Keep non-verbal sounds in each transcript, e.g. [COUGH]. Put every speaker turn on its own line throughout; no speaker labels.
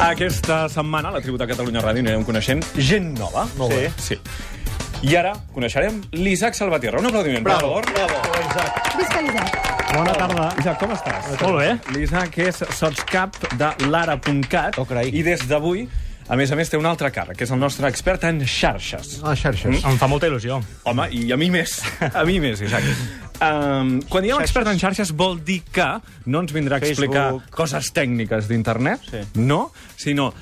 Aquesta setmana, a la tribut de Catalunya Ràdio, anirem coneixent gent nova.
Molt bé.
Sí. I ara coneixerem l'Isaac Salvatierra. Un aplaudiment, per favor.
Visca l'Isaac.
Bona tarda.
Isaac, com estàs?
Molt bé.
L'Isaac és sotscap de l'ara.cat
Oh, carai.
i des d'avui, a més a més, té un altre càrrec, que és el nostre expert en xarxes.
A les xarxes.
Em fa molta il·lusió.
Home, i a mi més. [LAUGHS] A mi més, Isaac. Um, quan diem expert en xarxes vol dir que no ens vindrà a explicar
Facebook.
coses tècniques d'internet, sí. no, sinó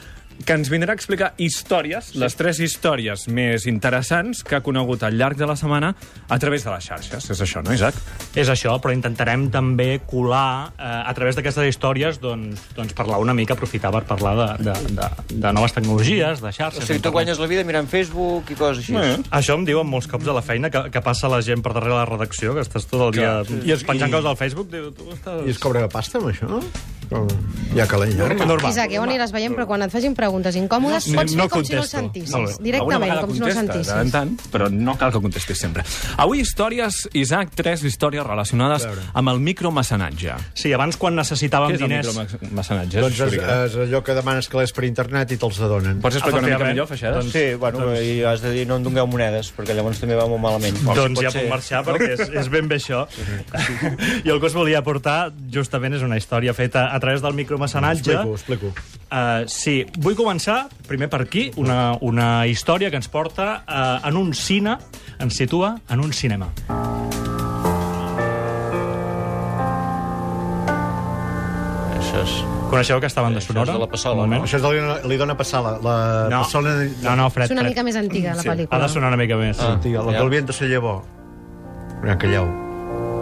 que ens vindrà a explicar històries, sí. les tres històries més interessants que ha conegut al llarg de la setmana a través de les xarxes. És això, no, Isaac?
És això, però intentarem també colar eh, a través d'aquestes històries doncs, doncs parlar una mica, aprofitar per parlar de, de, de, de noves tecnologies, de xarxes...
O sigui, tu
d'internet.
guanyes la vida mirant Facebook i coses així.
Bé.
Això em diuen molts cops a la feina, que, que passa la gent per darrere la redacció, que estàs tot el dia
Clar,
I es, penjant coses al Facebook, diu, tu estàs...
I es cobrarà pasta amb això? O... Ja que l'he ja.
normal.
Isaac, ja ho aniràs veient, però quan et facin preguntes incòmodes,
No,
pots fer
no
com si no el
contesto. Molt
sentissis.
bé.
Directament,
Alguna vegada
com si no el
contestes, de tant en
sentissis.
tant, però no cal que contestis sempre. Avui històries, Isaac, tres històries relacionades amb el micromecenatge.
Sí, abans quan necessitàvem
Què és el
diners...
micromecenatge?
Doncs és,
Soriguera.
és allò que demanes calés per internet i te'ls adonen.
Pots explicar una mica
Efectivament.
millor, Feixedes?
Doncs-
Sí, bueno, i has de dir no em dongueu monedes, perquè llavors també va molt malament.
Doncs
Pot
ja puc
ser.
marxar perquè és, és ben bé això. [LAUGHS] I el que us volia portar justament és una història feta a través del micromecenatge.
Explico, explico.
Uh, sí, vull començar primer per aquí, una, una història que ens porta uh, en un cine, ens situa en un cinema.
Això és...
Coneixeu aquesta banda
Això és
sonora?
de la Passola,
Un moment.
Això és de li, li dona passar la, la
No,
persona...
no, no, fred,
És una
fred.
mica més antiga, la
Ha
pel·lícula.
de sonar una mica més.
Ah.
Tia, la que l'havien de ser llavor. Ja, calleu.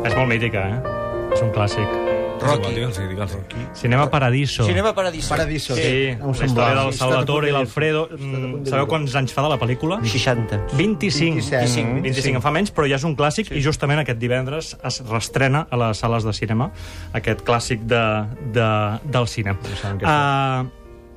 És molt mítica, eh? És un clàssic.
Rocky.
Digue'ls, digue'ls.
Cinema Paradiso.
Cinema Paradiso.
Paradiso.
Sí,
Em
la
semblava.
història del
Sí,
Salvatore i
està
l'Alfredo. Mm, Sabeu quants anys fa de la pel·lícula?
60.
25.
27.
25, 25 en fa menys, però ja és un clàssic sí. i justament aquest divendres es restrena a les sales de cinema aquest clàssic de, de, del cine.
saben què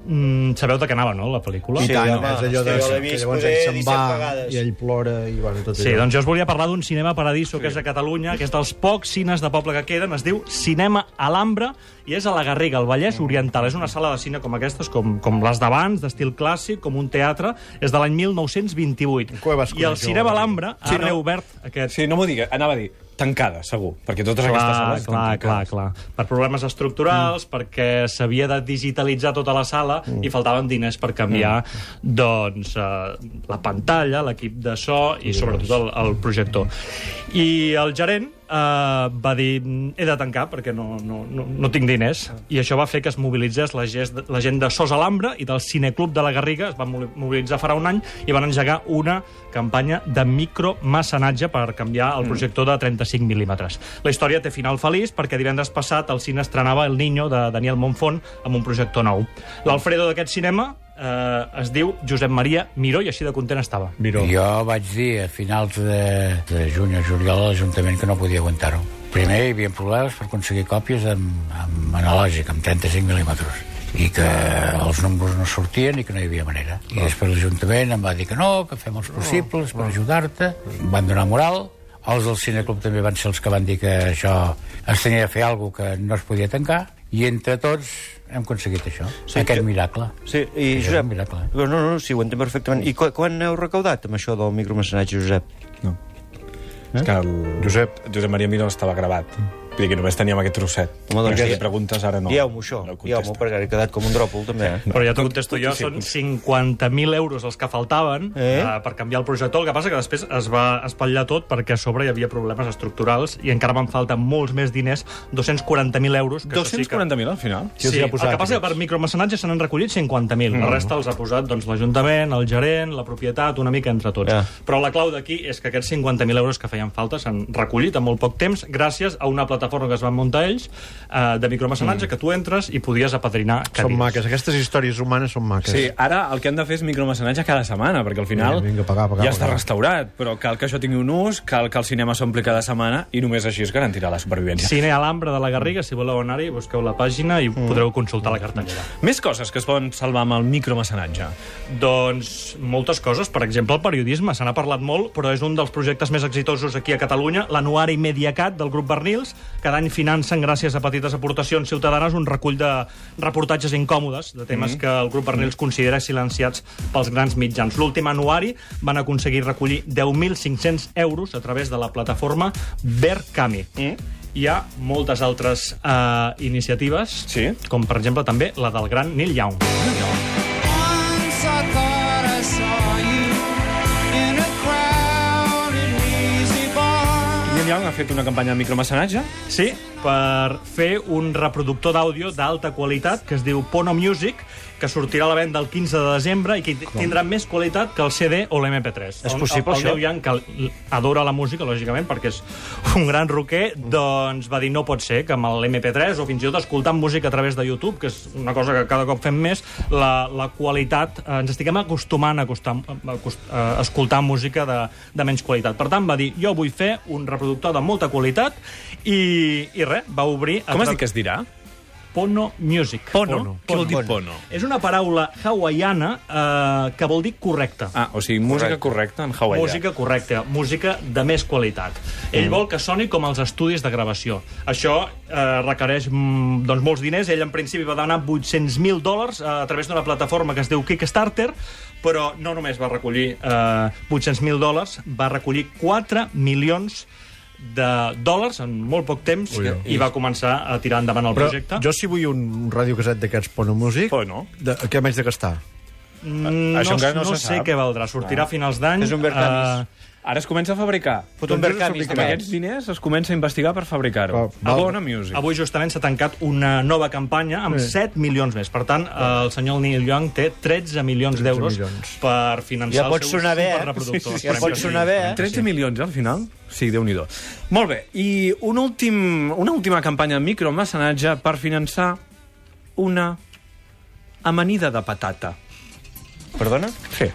Uh, mm, sabeu de què anava, no, la pel·lícula?
I tant,
home,
és allò de...
és que jo l'he
que
vist
llavors
poder
ell se'n
17
va
vegades.
i ell plora i bueno, tot
Sí,
allò.
doncs jo us volia parlar d'un cinema paradiso que és a Catalunya, que és dels pocs cines de poble que queden, es diu Cinema Alhambra i és a la Garriga, al Vallès Oriental. És una sala de cine com aquestes, com, com les d'abans, d'estil clàssic, com un teatre, és de l'any 1928.
Cuevas
I el
coneix,
Cinema Alhambra ha
Sí, no?
reobert aquest
Sí, no m'ho digui, anava a dir, tancada, segur, perquè totes aquestes
Clar,
sales estan
clar, clar,
tancades.
clar. Per problemes estructurals, mm. perquè s'havia de digitalitzar tota la sala mm. i faltaven diners per canviar mm. doncs, eh, la pantalla, l'equip de so i sobretot el, el projector. I el gerent eh, va dir "Mm, he de tancar perquè no, no, no, no tinc diners i això va fer que es mobilitzés la, gest, la gent de Sos Alhambra i del Cineclub de la Garriga es van moli- mobilitzar farà un any i van engegar una campanya de micromecenatge per canviar el projector de 35 mil·límetres. La història té final feliç perquè divendres passat al cine estrenava El Niño de Daniel Monfont amb un projector nou. L'Alfredo d'aquest cinema eh, es diu Josep Maria Miró i així de content estava.
Miró.
Jo vaig dir a finals de, de juny o juliol a l'Ajuntament que no podia aguantar-ho. Primer hi havia problemes per aconseguir còpies amb, amb analògic, amb 35 mil·límetres i que els números no sortien i que no hi havia manera. I després l'Ajuntament em va dir que no, que fem els
Oh,
possibles per ajudar-te. Em van donar moral. Els del Cineclub també van ser els que van dir que això es tenia de fer alguna que no es podia tancar. I entre tots hem aconseguit això,
Sí,
sí, aquest
jo-
jo... miracle.
Sí, i
Això és
Josep...
un miracle, eh?
No, no, no, sí, ho entenc perfectament. I quan, quan heu recaudat amb això del micromecenatge, Josep?
És que el
Josep.
Josep Maria Miró estava gravat. Vull dir que només teníem aquest trosset.
Home, doncs
Però si
ja-
li preguntes ara no.
Dieu-m'ho, això.
No
Dieu-m'ho,
contesta.
perquè he quedat com un dròpol, també. Eh?
Però ja t'ho contesto jo, són 50.000 euros els que faltaven
Eh?
eh? uh, per canviar el projector. El que passa que després es va espatllar tot perquè a sobre hi havia problemes estructurals i encara van faltar molts més diners, 240.000 euros. Que això sí que-
240.000 al final?
Qui els
Sí,
hi
el
ha
que
posat,
passa que
aquests?
per micromecenatge se n'han recollit 50.000. La resta els ha posat doncs, l'Ajuntament, el gerent, la propietat, una mica entre tots.
Ja.
Però la clau d'aquí és que aquests 50.000 euros que feien falta s'han recollit en molt poc temps gràcies a una plataforma que es van muntar ells eh, de micromecenatge que tu entres i podies apadrinar
Mm. Són
cadires.
maques. Aquestes històries humanes són maques.
Sí, ara el que hem de fer és micromecenatge cada setmana, perquè al final
Vinga, vinga, pagar, pagar,
ja està
pagar.
restaurat, però cal que això tingui un ús, cal que el cinema s'ompli cada setmana i només així es garantirà la supervivència.
Cine Alhambra de la Garriga, si voleu anar-hi, busqueu la pàgina i podreu consultar la cartellera.
Més coses que es poden salvar amb el micromecenatge.
Doncs moltes coses, per exemple el periodisme, se n'ha parlat molt, però és un dels projectes més exitosos aquí a Catalunya, l'anuari Mediacat del grup Bernils, Cada any financen, gràcies a petites aportacions ciutadanes, un recull de reportatges incòmodes, de temes que el grup Bernils considera silenciats pels grans mitjans. L'últim anuari van aconseguir recollir 10.500 euros a través de la plataforma Verkami. Hi ha moltes altres eh, iniciatives,
Sí.
com per exemple també la del gran Neil Young.
Once I thought I saw you in a crowded music bar.
Neil Young ha fet una campanya de micromecenatge.
Sí, per fer un reproductor d'àudio d'alta qualitat que es diu Pono Music, que sortirà a la venda el 15 de desembre i que tindrà més qualitat que el CD o l'MP3. És
possible,
el, el
això?
Neil Young, que l- adora la música, lògicament, perquè és un gran roquer, doncs va dir no pot ser que amb l'MP3 o fins i tot escoltant música a través de YouTube, que és una cosa que cada cop fem més, la, la qualitat, eh, ens estiguem acostumant a, acostar, a, acost- a escoltar música de, de menys qualitat. Per tant, va dir, jo vull fer un reproductor de molta qualitat i, i res, va obrir... a
Com es
tra-
diu que es dirà?
Pono Music.
Què vol dir pono?
És una paraula hawaiana eh, que vol dir correcta.
Ah, o sigui, música correcta en hawaià.
Música correcta, música de més qualitat. Ell vol que soni com els estudis de gravació. Això eh, requereix mm, doncs, molts diners. Ell, en principi, va demanar 800.000 dòlars eh, a través d'una plataforma que es diu Kickstarter, però no només va recollir eh, 800.000 dòlars, va recollir 4 milions de dòlars en molt poc temps
Ui,
i va començar a tirar endavant el
Però
projecte.
jo si vull un radiocaset d'aquests Pono Music...
Pono.
De, què m'haig de gastar?
Mm,
Això
no,
encara no
no,
se
sé
sap.
què valdrà. Sortirà a finals d'any. eh,
És un Bertamis.
Ara es comença a fabricar.
Fot un
Doncs
Verkami.
és
Amb aquests diners es comença a investigar per fabricar-ho.
Va,
A
va.
Bona Music.
Avui justament s'ha tancat una nova campanya amb 7 milions més. Per tant, eh, el senyor Neil Young té 13 milions d'euros
milions.
per finançar
Ja
el
pot
seu
sonar bé, eh?
superreproductor.
Sí, sí, ja pot sonar bé, eh?
13 milions al final? Sí, déu nhi Molt bé, i un últim, una última campanya de micromecenatge per finançar una amanida de patata.
Perdona?
Sí.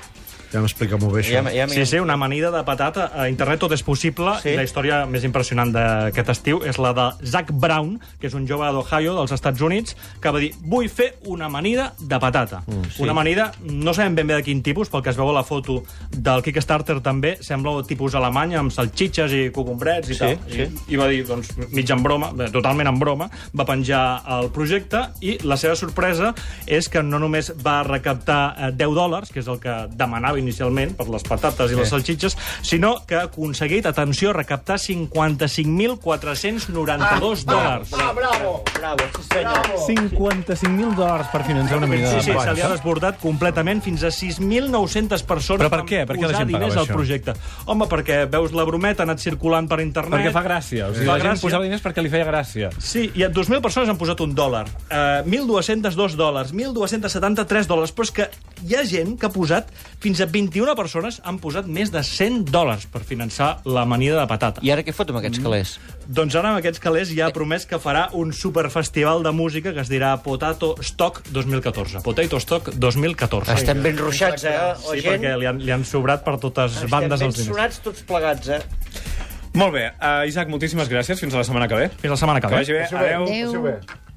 Ja m'explica-m'ho bé, això.
Ja, m- ja,
Sí, sí, una amanida de patata. A internet tot és possible.
Sí.
Sí. La història més impressionant d'aquest estiu és la de Zach Brown, que és un jove d'Ohio, dels Estats Units, que va dir, vull fer una amanida de patata. Mm, sí. Una amanida, no sabem ben bé de quin tipus, pel que es veu a la foto del Kickstarter també, sembla tipus alemanya, amb salxitxes i cocombrets i
Sí,
tal.
sí.
I, I va dir, doncs, mig en broma, bé, totalment en broma, va penjar el projecte i la seva sorpresa és que no només va recaptar eh, 10 dòlars, que és el que demanava inicialment per les patates i les salxitxes, sinó que ha aconseguit, atenció, recaptar
Ah,
55.492 dòlars.
Bravo, bravo, sí senyor.
55.000 dòlars per finançar una amanida
Sí,
de
sí, se
patata.
li ha desbordat completament fins a 6.900 persones
Però per
van
què? Per què la
posar
gent pagava
diners al
això?
projecte. Home, perquè veus la brometa ha anat circulant per internet...
Perquè fa gràcia. O sigui,
Fa
la gent
gràcia.
posava diners perquè li feia gràcia.
Sí, i 2.000 persones han posat un dòlar, eh, 1.202 dòlars, 1.273 dòlars, però és que hi ha gent que ha posat, fins a 21 persones han posat més de 100 dòlars per finançar l'amanida de patata.
I ara què fot amb aquests calés?
Doncs ara amb aquests calés ja ha promès que farà un superfestival de música que es dirà Potato Stock 2014. Potato Stock 2014.
Estem ben ruixats, eh? La
Sí,
gent...
perquè li han, li han sobrat per totes bandes
Estem
els
ben
diners.
sonats tots plegats, eh?
Molt bé, uh, Isaac, eh, moltíssimes gràcies. Fins a la setmana que ve.
Fins la setmana que
Que
ve.
vagi bé. Adéu.
Adéu.
Adéu.